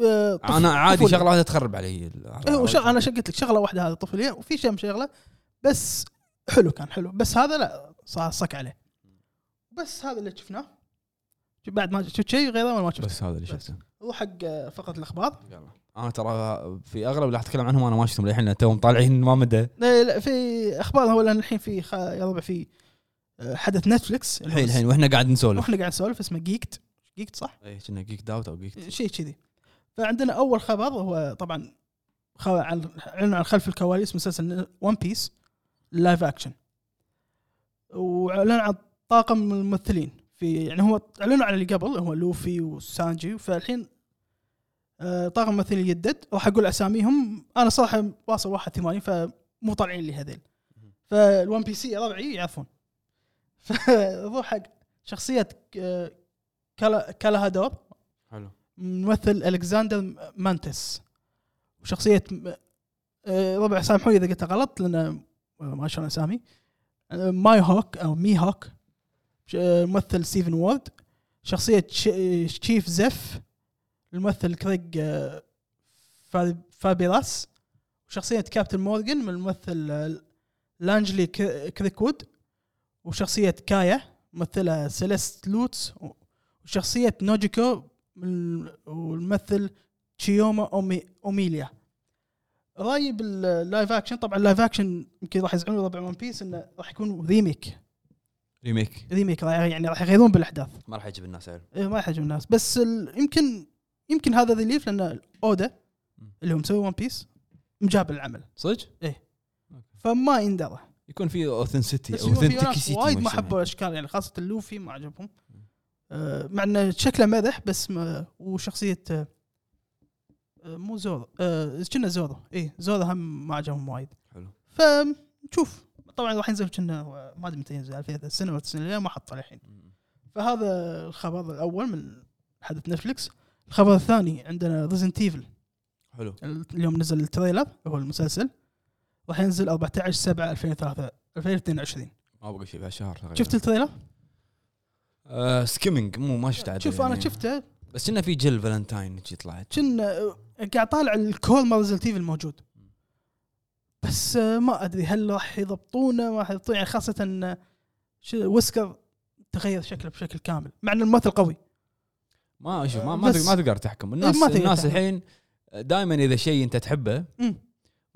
آه، طف-
انا عادي
طفولة.
شغله تخرب علي
إيه، وش- انا شو قلت لك شغله واحده هذا طفوليه وفي شيء شغله بس حلو كان حلو بس هذا لا صار صك عليه بس هذا اللي شفناه بعد ما شفت شيء غيره ولا ما شفت
بس هذا اللي شفته
روح حق آه، فقره الاخبار
يلا. انا ترى في اغلب اللي راح اتكلم عنهم انا ما شفتهم للحين لأن توهم طالعين ما مدى
لا لا في اخبار هو لان الحين في خ... يا ربع في آه، حدث نتفلكس
الحين الحين واحنا قاعد نسولف
واحنا قاعد نسولف اسمه جيكت جيكت صح؟
اي إيه، كنا جيك داوت او جيك
شيء كذي فعندنا اول خبر هو طبعا خ... عن عن عن خلف الكواليس مسلسل ون بيس لايف اكشن واعلن عن طاقم الممثلين في يعني هو اعلنوا عن اللي قبل هو لوفي وسانجي فالحين آه، طاقم الممثلين يدد راح اقول اساميهم انا صراحه واصل 81 فمو طالعين لي هذيل فالون بي سي ربعي يعرفون فروح حق شخصيه آه، كالا كالاهادور
حلو
ممثل الكساندر مانتس وشخصيه م- آه، ربع سامحوني اذا قلتها غلط لان ما شلون اسامي آه، ماي هوك او مي هوك ش- آه، ممثل ستيفن وورد شخصيه ش- آه، تشيف زف الممثل كريج آه، فا- فابيراس وشخصيه كابتن مورغان من الممثل آه، لانجلي كر- كريكوود وشخصيه كايا ممثله سيليست لوتس وشخصيه نوجيكو من- والممثل تشيوما أومي اوميليا رايي باللايف اكشن طبعا اللايف اكشن يمكن راح يزعلون ربع ون بيس انه راح يكون ريميك
ريميك
ريميك راح- يعني راح يغيرون بالاحداث
ما راح يعجب الناس عيل
إيه، ما يحجم الناس بس ال- يمكن يمكن هذا ريليف لان اودا اللي هو مسوي ون بيس مجاب العمل
صدق
فما يندرى
يكون في اوثنسيتي
بس يكون في ناس وايد ما حبوا الاشكال يعني خاصه اللوفي ما عجبهم آه، مع انه شكله مدح بس ما وشخصيه آه، آه، مو زورو آه، كنا زورو اي زورو هم ما عجبهم وايد
حلو.
فنشوف طبعا راح ينزل كنا آه، ما ادري متى ينزل 2000 ولا السنه اللي ما حطه الحين فهذا الخبر الاول من حدث نتفلكس الخبر الثاني عندنا ريزنت ايفل
حلو
اليوم نزل التريلر هو المسلسل راح ينزل 14 7 2023 2022
ما بقى شيء بعد شهر تقريبا
شفت التريلر؟
آه سكيمنج مو ما شفت عدل
شوف انا شفته
بس انه في جل فالنتاين شي طلعت
كن آه، قاعد طالع الكول مال ريزنت ايفل الموجود بس آه، ما ادري هل راح يضبطونه ما راح يضبطونه يعني خاصه آه، شو- ويسكر تغير شكله بشكل كامل مع انه الممثل قوي
ما اشوف ما ما,
بس- إيه،
تق- ما تقدر تحكم الناس
ما تقدر
الناس
تحكم.
الحين دائما اذا شيء انت تحبه
مم.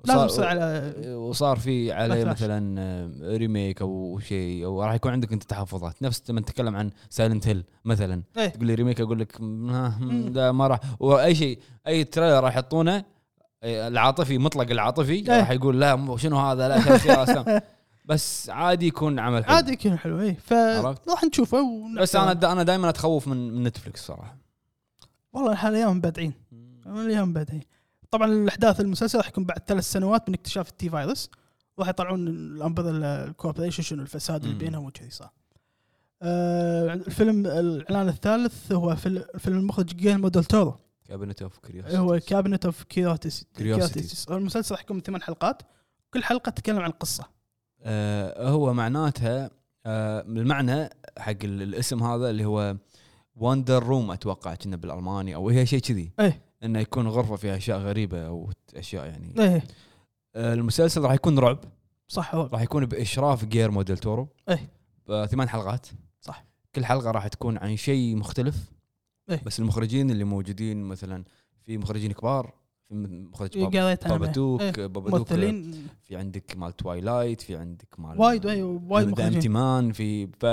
لازم
وصار-
يصير
آه،
على
وصار في عليه
بكلاش.
مثلا آه، ريميك او شيء او راح يكون عندك انت تحفظات نفس لما نتكلم عن سايلنت هيل مثلا
إيه.
تقول لي ريميك اقول لك م- ها، م-
مم.
لا ما راح واي شيء اي تريلر راح يحطونه آه، العاطفي مطلق العاطفي
إيه.
راح يقول لا مو- شنو هذا لا شنو- شنو هذا؟ بس عادي يكون عمل حلو
عادي يكون حلو اي
عرفت؟
فراح نشوفه ون-
بس انا دا انا دائما اتخوف من من نتفلكس صراحه
والله حاليا مبدعين اليوم مبدعين طبعا الاحداث المسلسل راح يكون بعد ثلاث سنوات من اكتشاف التي فايروس راح يطلعون الانبضه ال- الكوربوريشن شنو الفساد اللي
مم.
بينهم وكذي صار. آه الفيلم الاعلان الثالث هو فيلم فيلم المخرج جيلمو دول تورو
كابينت اوف كريوس
إيه، هو كابينت اوف كيوتيس
Curiosity.
المسلسل راح يكون من ثمان حلقات كل حلقه تتكلم عن قصه
آه هو معناتها آه المعنى حق ال- الاسم هذا اللي هو واندر روم اتوقع كنا بالالماني او هي شيء كذي
إيه.
انه يكون غرفه فيها اشياء غريبه او اشياء يعني
ايه
آه المسلسل راح يكون رعب
صح هو
راح يكون باشراف جير موديل تورو
إيه.
آه ثمان حلقات
صح.
كل حلقه راح تكون عن شيء مختلف
إيه.
بس المخرجين اللي موجودين مثلا في مخرجين كبار في مخرج باب-
إيه، قريت عنه.
بابادوك
إيه.
بابادوك آه،
ممثلين
في عندك مال توايلايت في عندك مال
وايد وايد وايد مخرجين
امتمان في ف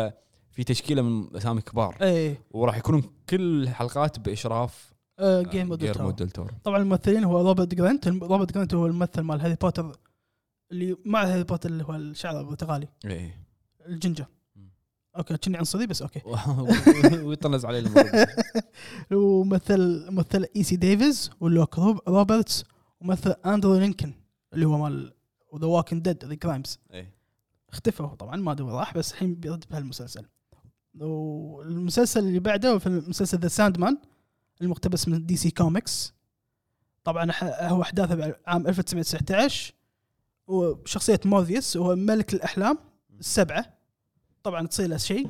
في تشكيله من اسامي كبار
ايه
وراح يكونون كل الحلقات باشراف
جيم مود
جيرمو ديل تورو
طبعا الممثلين هو روبرت جرانت الم- روبرت جرانت هو الممثل مال هاري بوتر اللي مع هاري بوتر اللي هو الشعر البرتقالي
ايه
الجنجر
مم.
اوكي كني عنصري بس اوكي إيه.
ويطنز عليه الموضوع.
ومثل مثل ايسي ديفيز ولوك روب- روبرتس ومثل اندرو لينكن اللي هو مال ذا واكن ديد ذا كرايمز
إيه.
اختفى هو طبعا ما ادري وين راح بس الحين بيرد بهالمسلسل والمسلسل اللي بعده في المسلسل ذا ساند مان المقتبس من دي سي كوميكس طبعا ح- هو احداثه عام 1919 وشخصية مورفيوس وهو ملك الأحلام السبعة طبعا تصير له شيء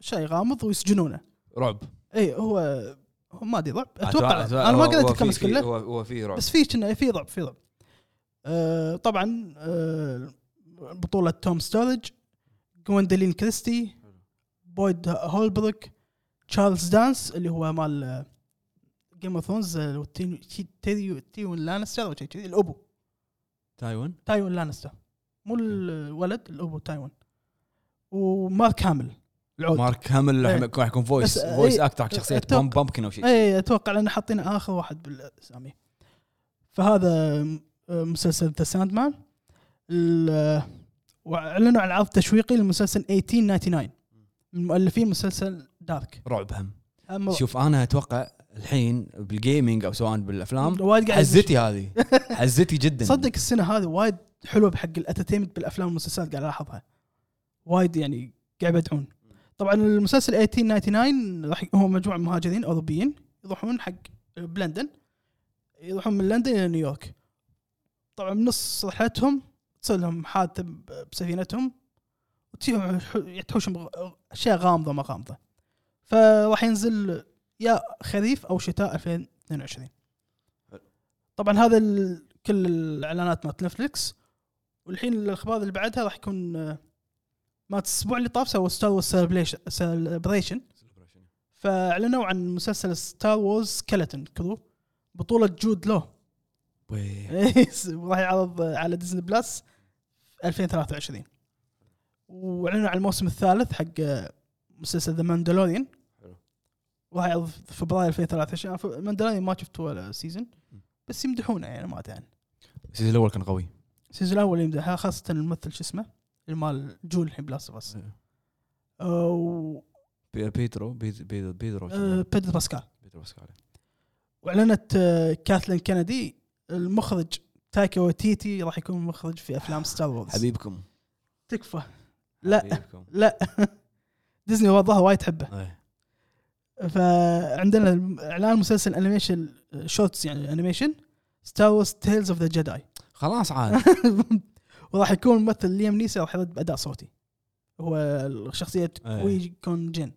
شيء غامض ويسجنونه
رعب
اي هو هو ما ادري رعب اتوقع انا ما
هو- هو
قريت
في-
الكوميكس
في-
كله
هو هو في رعب
بس في كنا في رعب في رعب آه طبعا آه بطولة توم ستورج جوندلين كريستي بويد هولبروك تشارلز دانس اللي هو مال آه، جيم اوف ثرونز تيون لانستر او شيء كذي الابو
تايوان
تايوان لانستر مو الولد الابو تايوان ومارك هامل العود
مارك هامل
إيه.
راح يكون- راح يكون فويس
بس-
فويس
إيه.
اكتر حق شخصيه
أتوقع.
بام بامكن او شيء
اي اتوقع لان إيه، حاطين اخر واحد بالاسامي فهذا م- مسلسل ذا ساند مان واعلنوا عن عرض تشويقي لمسلسل 1899 من مؤلفين مسلسل دارك
رعب هم
أما-
شوف انا اتوقع الحين بالجيمنج او سواء بالافلام
وايد قاعد
حزتي هذه حزتي جدا
صدق السنه هذه وايد حلوه بحق الانترتينمنت بالافلام والمسلسلات قاعد الاحظها وايد يعني قاعد يبدعون طبعا المسلسل 1899 راح هو مجموعه من مهاجرين اوروبيين يروحون حق بلندن يروحون من لندن الى نيويورك طبعا بنص رحلتهم تصير لهم حادثه ب- بسفينتهم وتصير تحوشهم غ- اشياء غامضه ما غامضه فراح ينزل يا خريف او شتاء 2022 طبعا هذا ال- كل الاعلانات مالت نتفلكس والحين الاخبار اللي بعدها راح يكون آه، مالت الاسبوع اللي طاف سووا ستار وورز سيلبريشن فاعلنوا عن مسلسل ستار وورز سكلتون كرو بطولة جود لو
ويه.
راح يعرض على ديزني بلس 2023 واعلنوا عن الموسم الثالث حق آه، مسلسل ذا ماندلوريان
حلو.
راح يعرض في فبراير 2023 ماندلوريان ما شفته ولا سيزون
م.
بس يمدحونه يعني ما ادري عنه.
السيزون الاول كان قوي
السيزون الاول يمدحها خاصه الممثل شو اسمه المال جول الحين بلاست اوف اس
بي- بيدرو بيد- بيد- بيدرو
أه، بيدرو باسكال
بيدرو باسكال
واعلنت آه، كاثلين كندي المخرج تايكا وتيتي راح يكون مخرج في افلام ستار وورز
حبيبكم
تكفى لا.
حبيبكم
لا ديزني وضعها وايد تحبه
إيه.
فعندنا اعلان مسلسل انيميشن شورتس يعني انيميشن ستار وورز تيلز اوف ذا جداي
خلاص عاد
وراح يكون ممثل ليام نيسي راح يرد باداء صوتي هو الشخصيه
أي.
وي كون جين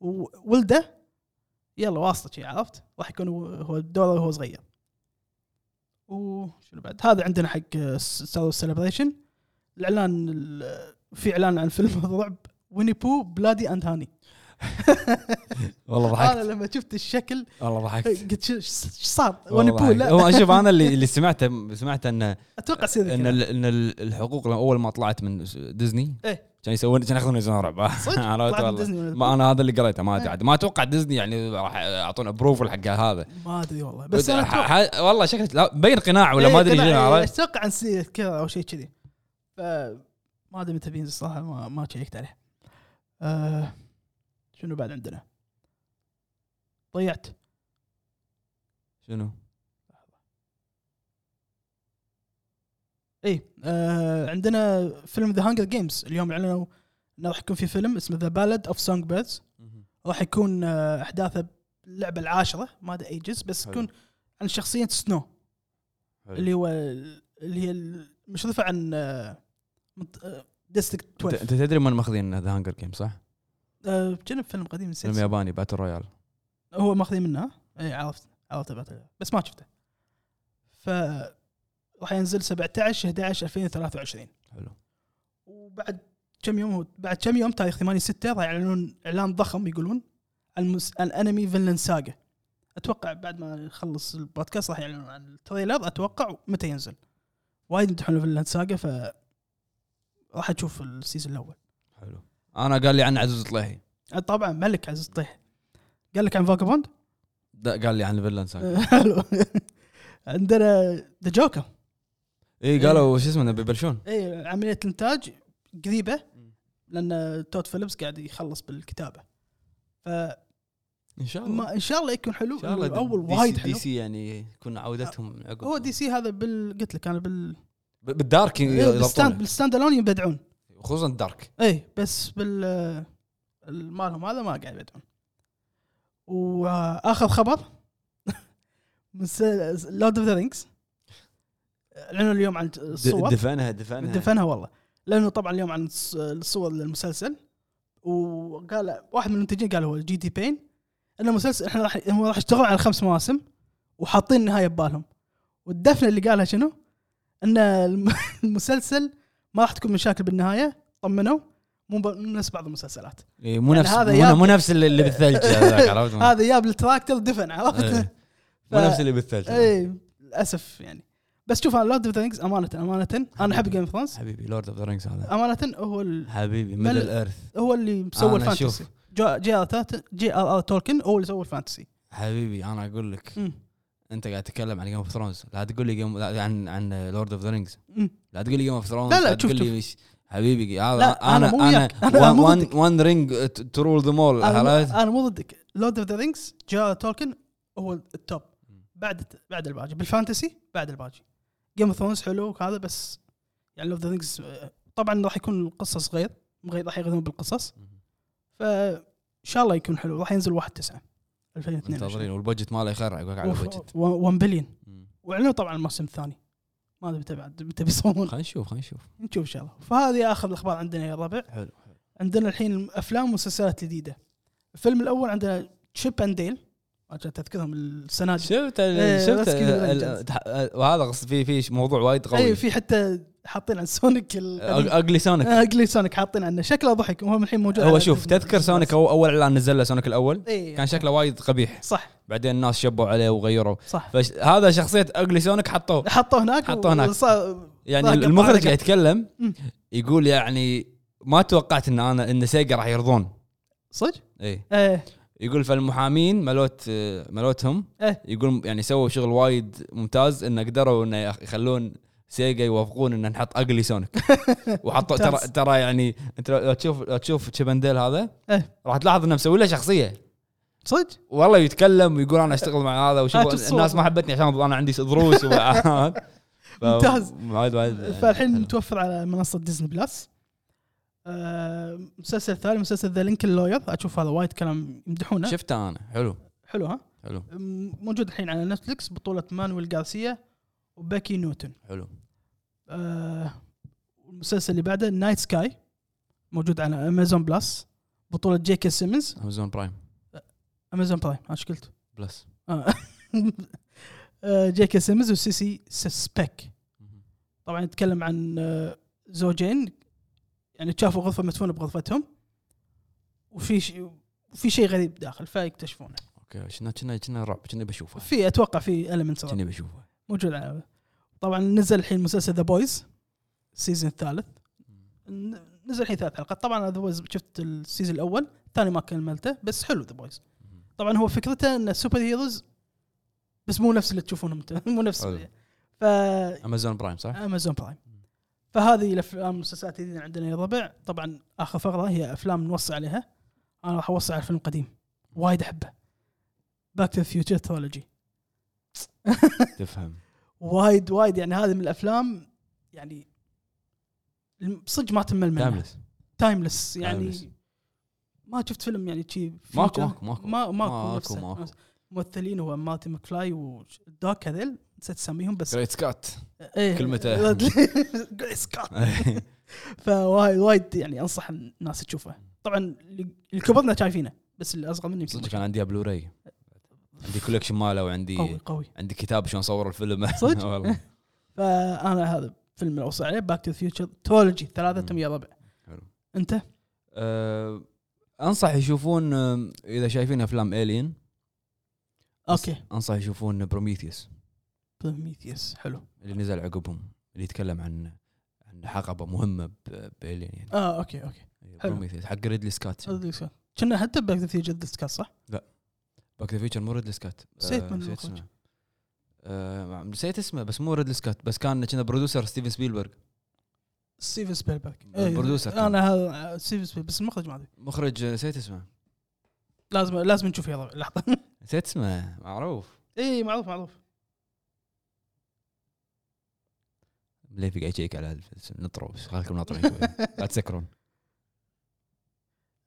وولده يلا واسطه شي عرفت راح يكون هو- هو دوره وهو صغير وشنو بعد هذا عندنا حق ستار سيلبريشن الاعلان ال- في اعلان عن فيلم الرعب ويني بو بلادي اند هاني
والله
انا
ضحكت
لما شفت الشكل
والله ضحكت
قلت شو شو صار ويني
والله
بو
ضحكت.
إيه. لا
هو شوف انا اللي اللي سمعته سمعته انه
اتوقع يصير ذي
ان
كذا.
ال- ان ال- الحقوق لما اول ما طلعت من س- ديزني
إيه.
كان يسوون كان ياخذون ميزان رعب
صدق
عرفت
طلعت من
والله
ديزني
ما انا هذا اللي قريته ما ادري
إيه.
عاد ما اتوقع ديزني يعني راح يعطون ابروفل حق هذا
ما ادري والله
بس
بس انا أتوقع-
والله شكله لا، مبين قناع ولا ما ادري
إيه،
شنو،
قناع-
عرفت
اتوقع عن سي كذا او شيء كذي ف ما ادري متى بينزل صراحه ما ما شيكت عليه أه شنو بعد عندنا؟ ضيعت
شنو
اي أه عندنا فيلم ذا هانجر جيمز اليوم اعلنوا انه راح يكون في فيلم اسمه ذا بالاد اوف سونج بيردز راح يكون آه، احداثه اللعبه العاشره ما ادري ايجز بس
حلو.
تكون عن شخصيه سنو
حلو.
اللي هو اللي هي المشرفه عن آه، ديستريكت
انت
12
أنت تدري من ماخذين ذا هانجر جيم صح؟
آه، كان فيلم قديم نسيت
فيلم
اسمه.
ياباني باتل رويال
هو ماخذين منه اي عرفت عرفت بعد بس ما شفته ف راح ينزل 17 11 2023
حلو
وبعد كم يوم هو بعد كم يوم تاريخ 8 6 راح يعلنون اعلان ضخم يقولون عن المس... عن انمي فينلاند ساجا اتوقع بعد ما يخلص البودكاست راح يعلنون عن التريلر اتوقع متى ينزل وايد يمدحون فينلاند ساجا ف راح اشوف السيزون الاول
حلو انا قال لي عن عزوز الطليحي
طبعا ملك عزيز الطيح قال لك عن فاكابوند
ده قال لي عن فيلن ساكا
حلو عندنا ذا جوكر
اي إيه، قالوا شو اسمه إنه بيبلشون
اي عمليه الانتاج قريبه
مم.
لان تود فيلبس قاعد يخلص بالكتابه فما
ان شاء الله
ان شاء الله يكون حلو
ان شاء الله
الاول
دي- دي
وايد
سي-
حلو آه،
دي سي يعني يكون عودتهم عقب
هو دي إيه، سي هذا بال قلت لك انا بال
ب- بالدارك
بالستاند
يضبطونه.
بالستاند الون يبدعون
خصوصا الدارك
اي بس بال مالهم هذا ما قاعد يبدعون واخر خبر من لورد اوف ذا رينجز اعلنوا اليوم عن الصور
دفنها دفنها
دفنها والله لانه طبعا اليوم عن الص- الصور للمسلسل وقال واحد من المنتجين قال هو جي دي بين ان المسلسل احنا راح هم راح يشتغلون على خمس مواسم وحاطين النهايه ببالهم والدفنه اللي قالها شنو؟ ان الم- المسلسل ما راح تكون مشاكل بالنهايه طمنوا مو ب- مو نفس بعض المسلسلات
إيه، مو
يعني
نفس
هذا
مو,
يابي.
مو نفس اللي اللي بالثلج هذاك، عرفت مو
هذا جاب التراكتر دفن عرفت؟
آه. إيه. مو
ف- إيه.
نفس اللي بالثلج
اي للاسف يعني بس شوف انا لورد اوف ذا امانه امانه انا احب جيم فرانس
حبيبي لورد اوف ذا رينجز هذا
امانه هو آه. ال-
حبيبي
بل-
ميدل ايرث
هو اللي مسوي
آه، أنا
الفانتسي
أشوف.
جو- جي ار تات- جي ار ار آه، تولكن هو اللي سوى الفانتسي
حبيبي انا اقول لك
مم.
انت قاعد تتكلم عن جيم اوف ثرونز لا تقول لي جيم لا، عن عن لورد اوف ذا رينجز
مم.
لا تقول لي جيم اوف ثرونز
لا، لا، شوف-
تقول لي مش حبيبي
لا،
هذا
أنا
انا
مو
انا
وياك. أيوة. آه. أنا مو
وان
ضدك.
وان رينج تو رول ذم اول
انا
عرفت
مو- أنا مو ضدك لورد اوف ذا رينجز جي ار تولكن هو التوب بعد بعد الباجي بالفانتسي بعد الباجي جيم اوف ثرونز حلو وهذا بس يعني لورد اوف ذا رينجز طبعا راح يكون القصه صغير مغير راح يغيرون بالقصص فان شاء الله يكون حلو راح ينزل 1 9
منتظرين
2022
والبجت ماله يخرع يقولك على البجت
1 بليون واعلنوا طبعا الموسم الثاني ما ادري متى بعد متى بيصورون
خلينا نشوف خلينا نشوف
نشوف ان شاء الله فهذه اخر الاخبار عندنا يا ربع
حلو
عندنا الحين افلام ومسلسلات جديده الفيلم الاول عندنا تشيب اند ديل عشان تذكرهم السنه دي
شفت
إيه،
ال- شفت
Rescue
ال-
Rangers.
ال- تح- وهذا غص- في في موضوع وايد
اي
قوي
أيوة،
أه،
في حتى حاطين عن سونيك ال-
اقلي سونيك
آه، اقلي سونيك حاطين عنه شكله ضحك وهو الحين موجود
هو
على
شوف
ديزني
تذكر
بلس.
سونيك هو اول اعلان نزل له سونيك الاول
اي
كان شكله وايد قبيح
صح
بعدين الناس شبوا عليه وغيروا
صح
فهذا شخصيه اقلي سونيك حطوه
حطوه هناك
حطوه هناك.
وصار-
يعني
ضاق
المخرج
على
قاعد يتكلم
مم.
يقول يعني ما توقعت ان انا ان سيجا راح يرضون
صدق؟
اي
ايه
يقول فالمحامين ملوت ملوتهم
إيه.
يقول يعني سووا شغل وايد ممتاز انه قدروا انه يخ- يخلون سيجا يوافقون ان نحط اقلي سونيك وحطوا ترى
ممتاز.
ترى يعني انت لو لو تشوف لو تشوف تشيبنديل هذا
إيه.
راح تلاحظ انه مسوي له شخصيه
صدق؟
والله يتكلم ويقول انا اشتغل مع هذا
هات
وشوف
الصور.
الناس ما حبتني عشان انا عندي دروس ومعاد
ممتاز.
معاد معاد
فالحين متوفر على منصه ديزني بلس آه، مسلسل ثاني مسلسل ذا لينك لوير اشوف هذا وايد كلام يمدحونه
شفته انا حلو
حلو ها
حلو
م- موجود الحين على نتفلكس بطوله مانويل غارسيا وباكي نيوتن
حلو
آه، المسلسل اللي بعده نايت سكاي موجود على امازون بلس بطوله جيكي سيمنز
امازون برايم
امازون برايم ايش قلت؟
بلس
آه. آه، جيكي سيمنز وسيسي سسبك طبعا نتكلم عن آه، زوجين يعني شافوا غرفه مدفونه بغرفتهم وفي شيء في شيء غريب داخل فيكتشفونه
اوكي كنا كنا كنا رعب كنا بشوفه
في اتوقع في المنت
كنا بشوفه
موجود على طبعا نزل الحين مسلسل ذا بويز السيزون الثالث ن- نزل الحين ثلاث حلقات طبعا ذا بويز شفت السيزون الاول الثاني ما كملته بس حلو ذا بويز طبعا هو فكرته ان سوبر هيروز بس مو نفس اللي تشوفونهم انت مو نفس
حلو.
ف
امازون برايم صح؟
امازون برايم فهذه الافلام والمسلسلات اللي عندنا يا ربع طبعا اخر فقره هي افلام نوصي عليها انا راح اوصي على فيلم قديم وايد احبه باك تو فيوتشر ثولوجي
تفهم
وايد وايد يعني هذه من الافلام يعني الم- صدق ما تمل منها
تايمليس
تايملس يعني
Timeless.
ما شفت فيلم يعني شي
ماكو
future.
ماكو ماكو
ما ماكو
ماكو
نفسه.
ماكو.
ممثلين هو مالتي مكفلاي ودوك هذيل نسيت اسميهم بس
جريت سكات
ايه
كلمته.
جريس كات فوايد وايد يعني انصح الناس تشوفه طبعا اللي اللي كبرنا شايفينه بس اللي اصغر مني يمكن ما
صدق كان عندي بلوراي عندي كولكشن ماله
شاف.
وعندي
قوي قوي
عندي كتاب شلون صور الفيلم
صدق؟
والله
فانا هذا فيلم اللي اوصي عليه باك تو فيوتشر تولوجي ثلاثتهم يا ربع
حلو.
انت
أه، انصح يشوفون أم، اذا شايفين افلام الين
اوكي
انصح يشوفون بروميثيوس
بروميثيوس حلو
اللي نزل عقبهم اللي يتكلم عن عن حقبه مهمه ب- بالين يعني
اه اوكي اوكي حلو.
بروميثيوس حق ريدلي سكات
كنا حتى باك تو فيوتشر ديسكاس صح؟
باك ذا فيوتشر مو ريدلي سكات
نسيت
أه،
من
نسيت
المخرج.
اسمه أه، نسيت اسمه بس مو ريدلي سكات بس كان كنا برودوسر ستيفن سبيلبرغ
ستيفن سبيلبرغ
البرودوسر كان.
انا إيه. هذا ستيفن سبيلبرغ بس المخرج ما ادري
مخرج أه، نسيت اسمه
لازم لازم نشوف يا ربع لحظه
نسيت اسمه معروف
اي معروف معروف
ليه في قاعد يشيك على هذا الاسم؟ نطروا بس خليكم ناطرين شوي لا تسكرون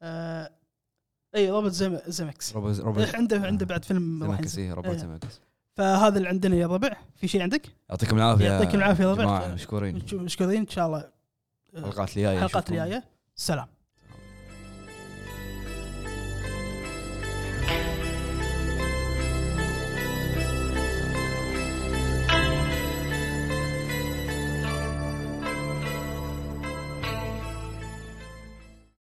آه، اي روبرت زم... زمكس
روبرت
إيه،
روبرت
عنده عنده بعد فيلم راح
زمكس
ينزل.
إيه، روبرت
إيه.
زمكس
فهذا اللي عندنا يا ربع في شيء عندك؟
يعطيكم العافيه
يعطيك العافية يا ربع.
جماعة، مشكورين
مشكورين ان شاء الله آه،
حلقات الجايه
الحلقات
نشوفكم.
الجايه سلام